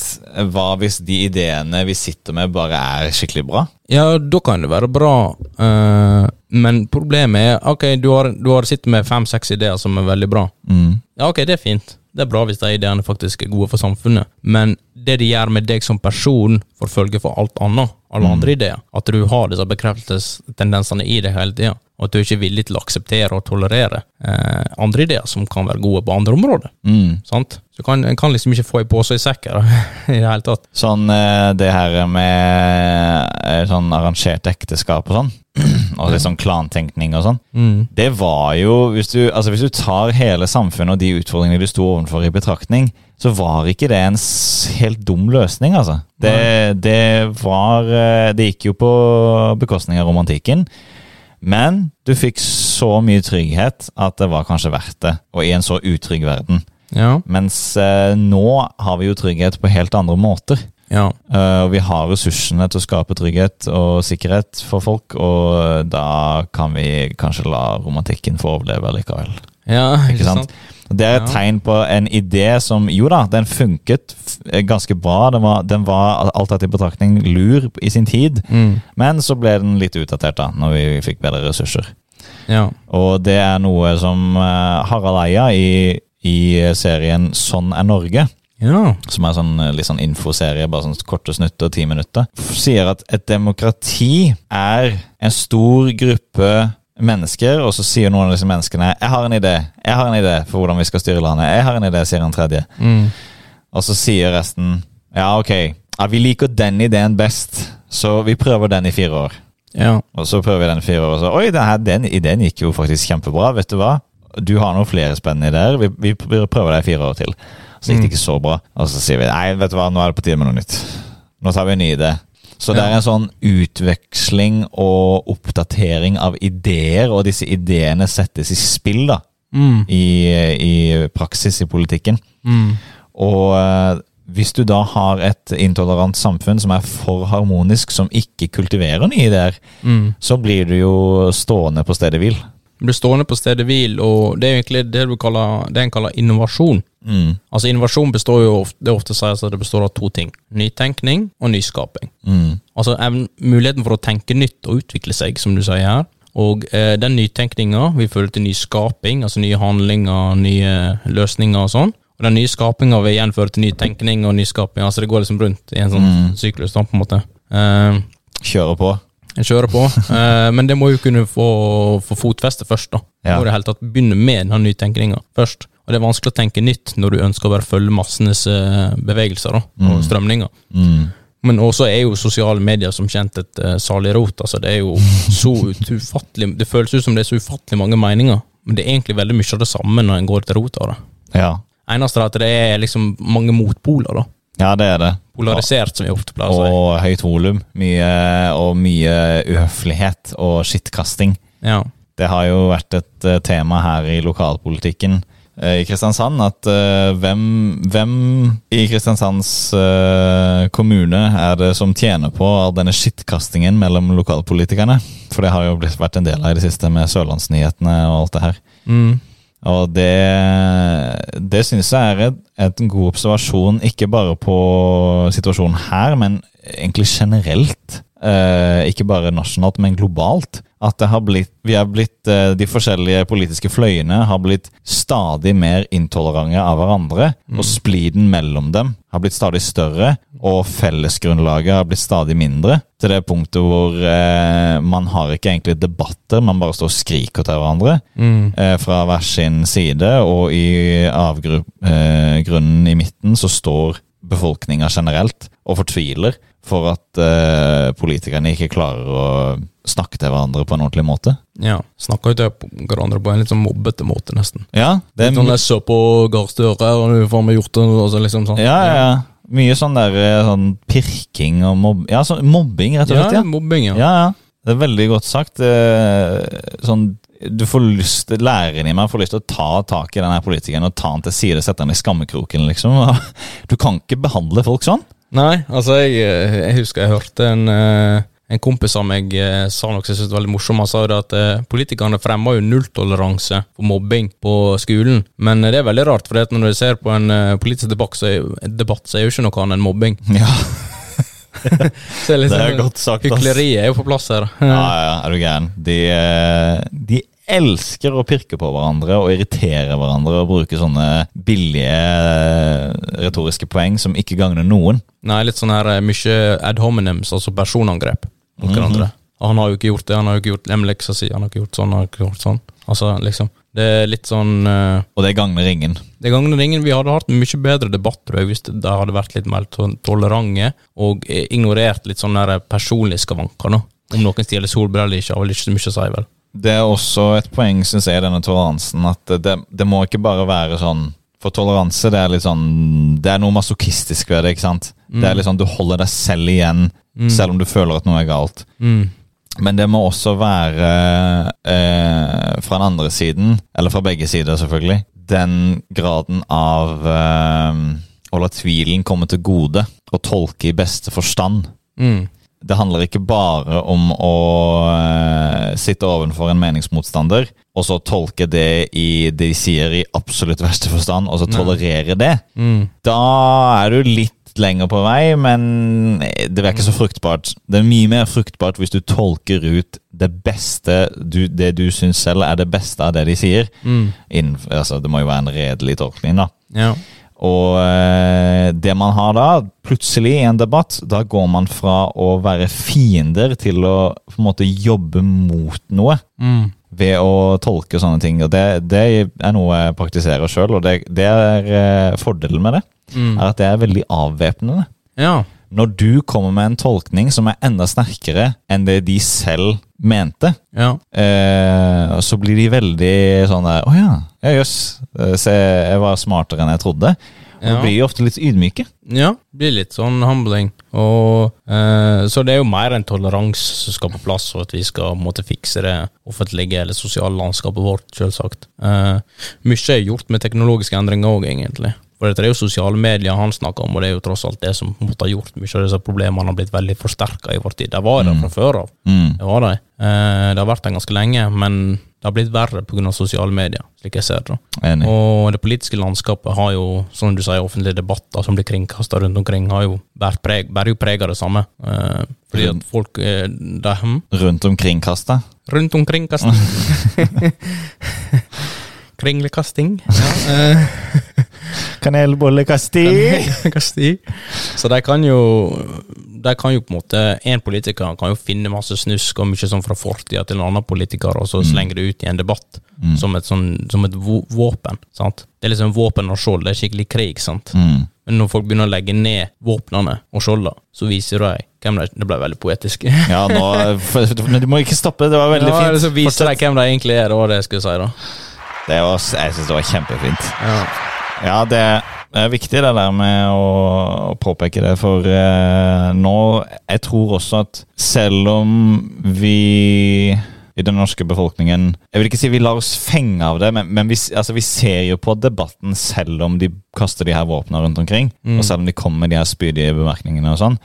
A: Hva hvis de ideene vi sitter med, bare er skikkelig bra?
B: Ja, da kan det være bra, eh, men problemet er Ok, du har, du har sittet med fem-seks ideer som er veldig bra.
A: Mm.
B: Ja, ok, det er fint. Det er bra hvis de ideene faktisk er gode for samfunnet, men det de gjør med deg som person, får følge for alt annet, alle andre ideer. At du har disse bekreftelsestendensene i deg hele tida, og at du ikke er villig til å akseptere og tolerere eh, andre ideer som kan være gode på andre områder.
A: Mm.
B: Sant? Så kan, en kan liksom ikke få ei pose i sekken i det hele tatt.
A: Sånn eh, det her med eh, sånn arrangert ekteskap og sånn, og litt sånn klantenkning og sånn, det var jo hvis du, altså hvis du tar hele samfunnet og de utfordringene du sto overfor i betraktning, så var ikke det en s- helt dum løsning, altså. Det, det var eh, Det gikk jo på bekostning av romantikken. Men du fikk så mye trygghet at det var kanskje verdt det, og i en så utrygg verden.
B: Ja.
A: Mens eh, nå har vi jo trygghet på helt andre måter.
B: ja.
A: Eh, Og vi har ressursene til å skape trygghet og sikkerhet for folk, og eh, da kan vi kanskje la romantikken få overleve likevel.
B: Ja,
A: Ikke sant? Det er et
B: Ja.
A: tegn på en idé som Jo da, den funket f- eh, ganske bra. Den var, den var alt tatt i betraktning lur i sin tid,
B: Mm.
A: men så ble den litt utdatert da, når vi fikk bedre ressurser.
B: Ja.
A: Og det er noe som eh, Harald Eia i, i serien Sånn er Norge
B: ja.
A: som er sånn eh, litt sånn infoserie, bare sånn korte snutter, ti minutter, sier at et demokrati er en stor gruppe mennesker, og så sier noen av disse menneskene 'Jeg har en idé jeg har en idé for hvordan vi skal styre landet'. 'Jeg har en idé', sier en tredje.
B: Mm.
A: Og så sier resten 'Ja, ok, ja, vi liker den ideen best, så vi prøver den i fire år'.
B: Ja.
A: Og så prøver vi den i fire år, og så 'Oi, den, her, den ideen gikk jo faktisk kjempebra', vet du hva? Du har noen flere spennende ideer, vi, vi prøver deg i fire år til. Så gikk det ikke så bra, og så sier vi 'Nei, vet du hva, nå er det på tide med noe nytt'. Nå tar vi en ny idé. Så det er
B: Ja.
A: en sånn utveksling og oppdatering av ideer, og disse ideene settes i spill da,
B: Mm.
A: i, i praksis i politikken.
B: Mm.
A: Og eh, hvis du da har et intolerant samfunn som er for harmonisk, som ikke kultiverer nye ideer,
B: Mm.
A: så blir du jo stående på stedet hvil.
B: Du blir stående på stedet hvil, og det er jo egentlig det, du kaller, det en kaller innovasjon.
A: Mm,
B: Altså Innovasjon består jo ofte, det er ofte sies at det består av to ting. Nytenkning og nyskaping.
A: mm,
B: Altså evn- muligheten for å tenke nytt og utvikle seg, som du sier her. Og eh, den nytenkninga vil føre til ny skaping, altså nye handlinger, nye løsninger og sånn. Og den nye skapinga vil igjen føre til ny tenkning og nyskaping. Altså det går liksom rundt i en sånn syklus, da, på en måte. Eh,
A: kjøre på.
B: jeg kjører på, eh, men det må jo kunne få, få fotfeste først, da.
A: Ja.
B: Må det helt tatt begynne med den nytenkninga først. Og det er vanskelig å tenke nytt når du ønsker å bare følge massenes eh, bevegelser da, og strømninger.
A: Mm.
B: Men også er jo sosiale medier som kjent et uh, salig rot. Altså, det er jo så ut- ufattelig Det føles ut som det er så ufattelig mange meninger, men det er egentlig veldig mye av det samme når en går til rota av det.
A: Ja.
B: Eneste er at det er liksom mange motpoler, da.
A: ja, det er det.
B: Polarisert, som vi ofte pleier å si.
A: Og høyt volum. Mye, og mye uhøflighet og skittkasting.
B: Ja.
A: Det har jo vært et eh, tema her i lokalpolitikken eh, i Kristiansand. At eh, hvem, hvem i Kristiansands eh, kommune er det som tjener på all denne skittkastingen mellom lokalpolitikerne? For det har jo blitt, vært en del av i det siste med Sørlandsnyhetene og alt det her.
B: Mm.
A: Og det, det syns jeg er et, et god observasjon, ikke bare på situasjonen her, men egentlig generelt. Eh, ikke bare nasjonalt, men globalt. At det har blitt, vi er blitt, eh, de forskjellige politiske fløyene har blitt stadig mer intolerante av hverandre. Og spliden mellom dem har blitt stadig større, og fellesgrunnlaget har blitt stadig mindre. Til det punktet hvor eh, man har ikke egentlig debatter, man bare står og skriker til hverandre
B: Mm.
A: eh, fra hver sin side, og i avgrunnen i midten så står befolkninga generelt og fortviler for at eh, politikerne ikke klarer å snakke til hverandre på en ordentlig måte.
B: ja. Snakker jo til hverandre på en litt sånn mobbete måte, nesten.
A: Ja, det er
B: Sånn jeg så på Gahr Støre, og nå faen meg gjort det, og så liksom sånn.
A: ja, ja, ja. mye sånn der eh, sånn pirking og mobb... Ja, sånn mobbing, rett og slett. Ja,
B: mobbing, ja.
A: ja. ja. Det er veldig godt sagt. Eh, Sånn, du får lyst, Læreren i meg får lyst til å ta tak i den her politikeren og ta han til side, sette han i skammekroken, liksom. Du kan ikke behandle folk sånn.
B: Nei, altså jeg, jeg husker jeg hørte en, eh, en kompis av meg eh, sa noe som jeg syntes var veldig morsomt. Han sa jo det at eh, politikerne fremmer jo nulltoleranse for mobbing på skolen. Men eh, det er veldig rart, for når du ser på en eh, politisk debatt, så er, jo- debatt, så er jo ikke noe annet enn mobbing.
A: Ja,
B: Så
A: det
B: er liksom-
A: er godt sagt. ass.
B: Hykleriet er jo på plass her.
A: Ja, ja, er du gæren. De, eh, de elsker å pirke på hverandre og irritere hverandre og bruke sånne billige eh, retoriske poeng som ikke gagner noen.
B: Nei, litt sånn her eh, mye ad hominems, altså personangrep mot hverandre. Og han har jo ikke gjort det, han har jo ikke gjort emleksa si, han har ikke gjort sånn, han har ikke gjort sånn. Altså, liksom. Det er litt sånn eh,
A: Og det gagner ingen.
B: Det gagner ingen. Vi hadde hatt en mye bedre debatt tror jeg, hvis de hadde vært litt mer to- tolerante og eh, ignorert litt sånne der personlige skavanker. nå. Om noen stjeler solbriller eller ikke, har vel ikke så mye å si, vel.
A: Det er også et poeng, syns jeg, i denne toleransen. At det, det må ikke bare være sånn For toleranse, det er litt sånn Det er noe masochistisk ved det, ikke sant? Det er litt sånn du holder deg selv igjen, selv om du føler at noe er galt. Men det må også være eh, fra den andre siden, eller fra begge sider selvfølgelig, den graden av eh, å la tvilen komme til gode og tolke i beste forstand.
B: Mm.
A: Det handler ikke bare om å eh, sitte ovenfor en meningsmotstander og så tolke det i det de sier i absolutt verste forstand, og så tolerere det.
B: Mm.
A: Da er du litt lenger på vei, men det er ikke så fruktbart. Det er mye mer fruktbart hvis du tolker ut det beste du, det du syns selv er det beste av det de sier.
B: Mm.
A: Innen, altså, det må jo være en redelig tolkning, da.
B: Ja.
A: Og eh, det man har da, plutselig i en debatt, da går man fra å være fiender til å på en måte jobbe mot noe.
B: Mm.
A: ved å tolke sånne ting. Og det, det er noe jeg praktiserer sjøl, og det, det er eh, fordelen med det. Er at det er veldig avvæpnende.
B: Ja.
A: Når du kommer med en tolkning som er enda sterkere enn det de selv mente,
B: ja.
A: eh, så blir de veldig sånn der Å ja, ja, jøss. eh, Se, jeg var smartere enn jeg trodde. Og
B: Ja.
A: blir jo ofte litt ydmyke.
B: Ja, blir litt sånn humbling. Og, eh, så det er jo mer en toleranse som skal på plass for at vi skal måtte fikse det offentlige eller sosiale landskapet vårt, selvsagt. Eh, mye er gjort med teknologiske endringer òg, egentlig. For dette er jo sosiale medier han snakker om, og det er jo tross alt det som på en måte har gjort mye av disse problemene har blitt veldig forsterka i vår tid. De var der fra før av.
A: Mm.
B: Det var de. Eh, det har vært der ganske lenge, men det har blitt verre pga. sosiale medier, slik jeg ser det. da.
A: Enig.
B: Og det politiske landskapet har jo, som du sier, offentlige debatter som blir kringkasta rundt omkring, har jo bært preg, bærer jo preg av det samme. Eh, fordi at folk eh, de, hm,
A: Rundt omkring kasta.
B: Rundt omkring kasting. Kringlekasting. Ja, eh,
A: Kanelbollekasti!
B: kasti. Så de kan jo de kan jo på en måte En politiker kan jo finne masse snusk og mye sånn fra fortida til en annen politiker, og så slenge det ut i en debatt
A: Mm.
B: som et, sånn, som et vå- våpen. sant? Det er liksom våpen og skjold, det er skikkelig krig. sant?
A: Mm.
B: Men når folk begynner å legge ned våpnene og skjoldene, så viser de hvem de Det ble veldig poetisk.
A: Ja, nå eh, Men du må ikke stoppe, det var veldig
B: ja,
A: fint.
B: Så viser de hvem de egentlig er, det var det jeg skulle si, da.
A: Det var, jeg syns det var kjempefint.
B: Ja.
A: Ja, det er viktig det der med å, å påpeke det, for eh, nå Jeg tror også at selv om vi i den norske befolkningen Jeg vil ikke si vi lar oss fenge av det, men, men vi, s- altså, vi ser jo på debatten selv om de kaster de her våpnene rundt omkring, og selv om de kommer med de her spydige bemerkningene og sånn.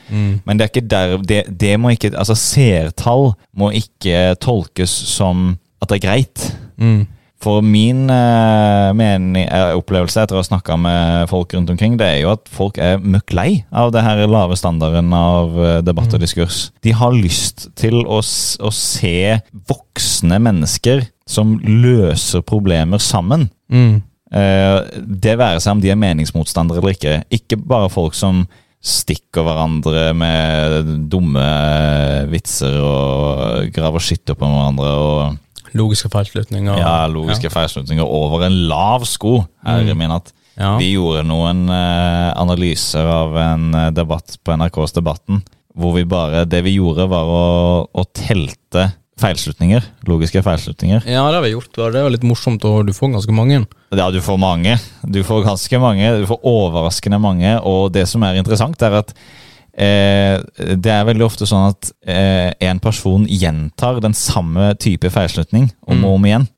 A: Men det er ikke der det, det må ikke Altså, seertall må ikke tolkes som at det er greit.
B: Mm.
A: For min eh, mening, eh, opplevelse etter å ha snakka med folk rundt omkring, det er jo at folk er møkk lei av det her lave standarden av eh, debatt og diskurs. De har lyst til å, s å se voksne mennesker som løser problemer sammen. Eh, det være seg om de er meningsmotstandere eller ikke. Ikke bare folk som stikker hverandre med dumme eh, vitser og graver skitt opp om hverandre. og
B: Logiske feilslutninger.
A: ja, Mm. logiske feilslutninger over en lav sko. Herre min at
B: Ja.
A: Vi gjorde noen eh, analyser av en eh, debatt på NRKs Debatten, hvor vi bare Det vi gjorde, var å, å telte feilslutninger. Logiske feilslutninger.
B: Ja, det har vi gjort. og Det er jo litt morsomt, og du får ganske mange.
A: Ja, du får mange. Du får ganske mange. Du får overraskende mange. Og det som er interessant, er at eh, det er veldig ofte sånn at eh, en person gjentar den samme type feilslutning om og om igjen.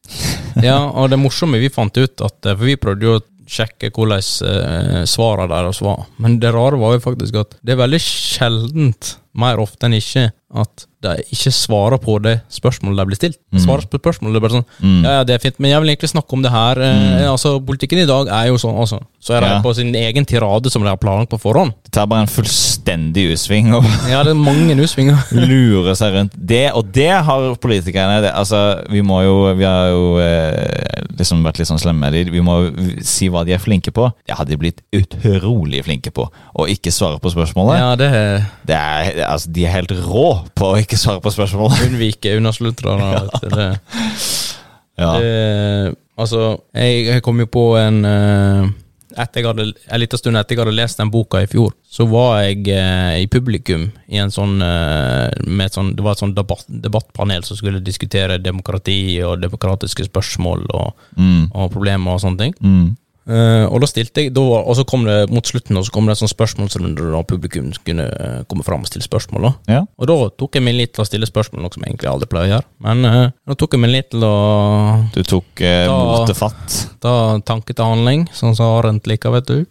B: Ja, og det morsomme vi fant ut, at, eh, for vi prøvde jo å sjekke hvordan eh, svarene deres var, men det rare var jo faktisk at det er veldig sjeldent, mer ofte enn ikke, at de ikke svarer på det spørsmålet de blir stilt. Svarer på spørsmålet, det er bare sånn ja, ja, det er fint, men jeg vil egentlig snakke om det her. Eh, altså, Politikken i dag er jo sånn, altså. Så er de
A: Ja.
B: på sin egen tirade som de har planlagt på forhånd.
A: Det tar bare en fullstendig U-sving og
B: Ja, det er mange utsvinger.
A: lure seg rundt det, og det har politikerne det, altså, Vi må jo, vi har jo eh, liksom vært litt sånn slemme med dem. Vi må jo si hva de er flinke på. Det har de blitt utrolig flinke på. Å ikke svare på spørsmålet.
B: Ja, det er
A: Det er, altså, de er helt rå på å ikke svare på spørsmålet.
B: unnvike unnasluntrere. vet du, det.
A: Ja.
B: Eh, altså, jeg, jeg kom jo på en eh, etter jeg hadde, En liten stund etter jeg hadde lest den boka i fjor, så var jeg eh, i publikum i en sånn, eh, med et sånn Det var et sånn debatt, debattpanel som skulle diskutere demokrati og demokratiske spørsmål og,
A: Mm,
B: og problemer og sånne ting.
A: mm,
B: Eh, og da stilte jeg, da, var- og så kom det mot slutten og så kom det en sånn spørsmålsrunde da publikum kunne eh, komme fram og stille spørsmål. da
A: ja.
B: og da tok jeg meg litt til å stille spørsmål, noe som jeg egentlig aldri pleier å gjøre. Men eh, da tok jeg meg litt til å
A: Du tok eh,
B: Da-
A: motet fatt.
B: ta tanke til handling, sånn som Arendt liker, vet du.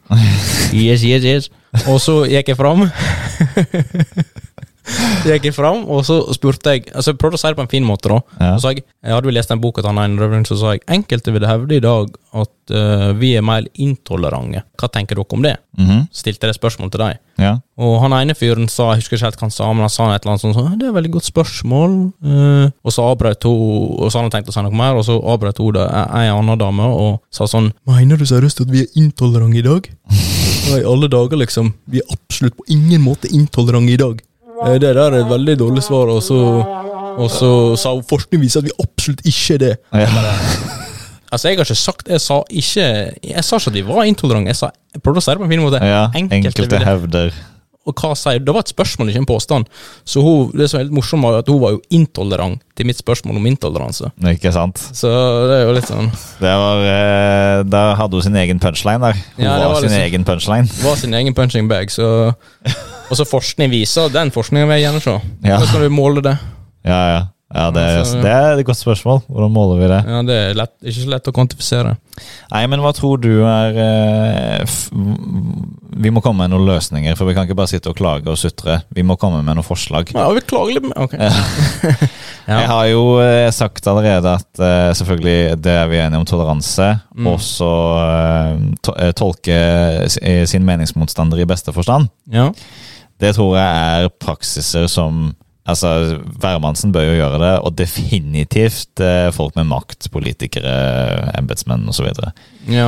B: Yes, yes, yes. Og så gikk jeg fram. Så gikk jeg fram, og så spurte jeg Altså, jeg prøvde å si det på en fin måte, da.
A: Ja.
B: Så sa jeg, jeg hadde jo lest den boka til han ene røveren, så sa jeg enkelte vil hevde i dag at eh, vi er mer intolerante. Hva tenker dere om det?
A: Mhm,
B: Stilte jeg det spørsmålet til deg.
A: ja.
B: Og han ene fyren sa, jeg husker ikke helt hva han sa, men han sa et eller annet sånn sånn, «Ja, det er et veldig godt spørsmål. eh, og så avbrøt hun, og så hadde han tenkt å si noe mer, og så avbrøt hun det, ei ei annen dame og sa sånn, mener du seriøst at vi er intolerante i dag? Ja, i alle dager liksom, vi er absolutt på ingen måte intolerante i dag.
C: Eh, Det der er et veldig dårlig svar, og så, og så sa hun forskning viser at vi absolutt ikke er det.
A: Ja.
B: Altså, jeg har ikke sagt Jeg sa ikke Jeg sa ikke at de var intolerante. Jeg sa jeg prøvde å si det på en fin måte.
A: ja.
B: Enkelte
A: Enkelte
B: ville-
A: hevder.
B: Og hva sier du? Det var et spørsmål, ikke en påstand. Så hun, det som er litt morsomt, var jo at hun var jo intolerant til mitt spørsmål om intoleranse.
A: Ikke sant?
B: Så det er jo litt sånn
A: Det var, eh, der hadde hun sin egen punchline der. Hun
B: Ja, det
A: var,
B: var
A: sin
B: liksom-
A: egen punchline.
B: Var sin egen punching bag, så Og så forskning viser Den forskningen vil jeg gjerne se.
A: Ja.
B: Hvordan skal vi måle det?
A: Ja, ja. ja det, er,
B: Altså,
A: det er et godt spørsmål. Hvordan måler vi det?
B: Ja, Det er lett, ikke så lett å kvantifisere.
A: Nei, men hva tror du er eh, f Vi må komme med noen løsninger, for vi kan ikke bare sitte og klage og sutre. Vi må komme med noen forslag.
B: Ja, vi klager litt mer. Ok.
A: Jeg har jo eh, sagt allerede at eh, selvfølgelig det er vi enige om toleranse. Og så eh, to eh, tolke s- eh, sin meningsmotstander i beste forstand.
B: Ja.
A: Det tror jeg er praksiser som Altså, Værmannsen bør jo gjøre det, og definitivt eh, folk med makt, politikere, embetsmenn osv.
B: ja.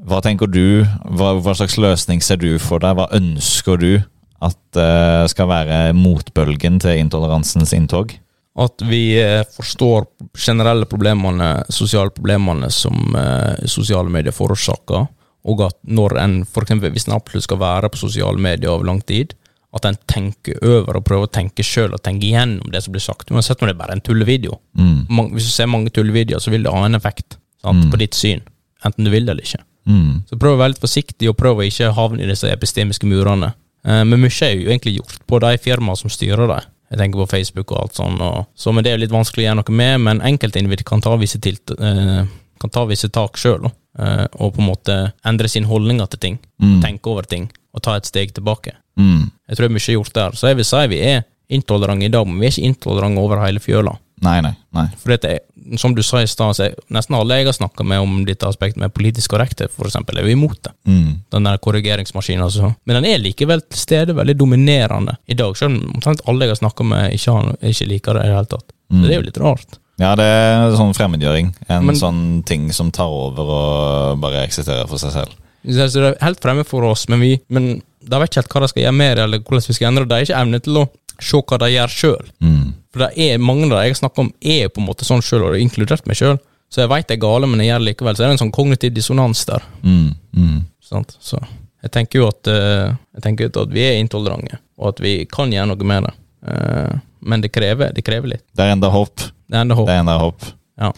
A: Hva tenker du? Hva, hva slags løsning ser du for deg? Hva ønsker du at eh, skal være motbølgen til intoleransens inntog?
B: At vi eh, forstår generelle problemene, sosiale problemene som eh, sosiale medier forårsaker, og at når en, for eksempel hvis en absolutt skal være på sosiale medier over lang tid, at en tenker over og prøver å tenke sjøl og tenke igjennom det som blir sagt, uansett om det er bare en tullevideo.
A: Mm.
B: Mange, hvis du ser mange tullevideoer, så vil det ha en effekt sant, på ditt syn, enten du vil det eller ikke.
A: Mm.
B: Så prøv å være litt forsiktig, og prøv å ikke havne i disse epistemiske murene. Eh, Men mye er jo egentlig gjort på de firmaene som styrer det. Jeg tenker på Facebook og alt sånn, og, så men det er jo litt vanskelig å gjøre noe med, men enkeltindivid kan ta visse, tilt, eh, kan ta visse tak sjøl, og på en måte endre sin holdninger til ting,
A: Mm.
B: tenke over ting, og ta et steg tilbake.
A: Mm.
B: Jeg tror mye er gjort der, så jeg vil si vi er intolerante i dag, men vi er ikke intolerante over hele fjøla.
A: Nei, nei. nei.
B: For dette, er- som du sa i stad, så er nesten alle jeg har snakka med om dette aspektet med politisk korrekthet, for eksempel, er jo imot det
A: Mm.
B: den der korrigeringsmaskinen. Altså. Men den er likevel til stede, veldig dominerende i dag, selv om omtrent alle jeg har snakka med, ikke, har, ikke liker det i det hele tatt. Så det er jo litt rart.
A: Ja, det er sånn fremmedgjøring. En
B: Men-
A: sånn ting som tar over og bare eksisterer for seg selv.
B: Så så det er helt fremme for oss, men vi men de vet ikke helt hva de skal gjøre med det, eller hvordan vi skal endre det. De har ikke evne til å se hva de gjør sjøl.
A: Mm.
B: For det er mange av de jeg snakker om, er på en måte sånn sjøl, og det er inkludert meg sjøl. Så jeg veit det er gale, men jeg gjør det likevel. Så er det en sånn kognitiv dissonans der.
A: Mm. Mm.
B: Sant? Så jeg tenker jo at, eh, jeg tenker jo at vi er intolerante, og at vi kan gjøre noe med det. Eh, men det krever, det krever litt.
A: Det er enda håp.
B: Det er enda
A: Det
B: håp.
A: er enda håp.
B: Ja.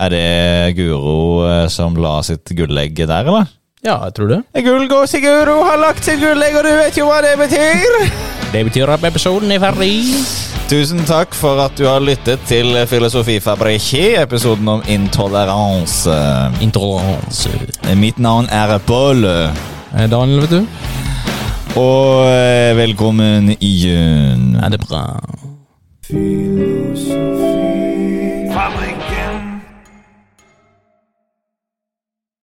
A: Er det Guro eh, som la sitt gullegg der, eller?
B: ja, jeg tror det.
A: Gullgås i Guro har lagt sitt gullegg, og du vet jo hva det betyr!
B: Det betyr at episoden er ferdig.
A: Tusen takk for at du har lyttet til Filosofifabrikki, episoden om intoleranse.
B: Intoleranse.
A: Mitt navn er Bolle,
B: Eh, Daniel, vet du.
A: og eh, velkommen igjen.
B: Er det bra?
D: Philosophy.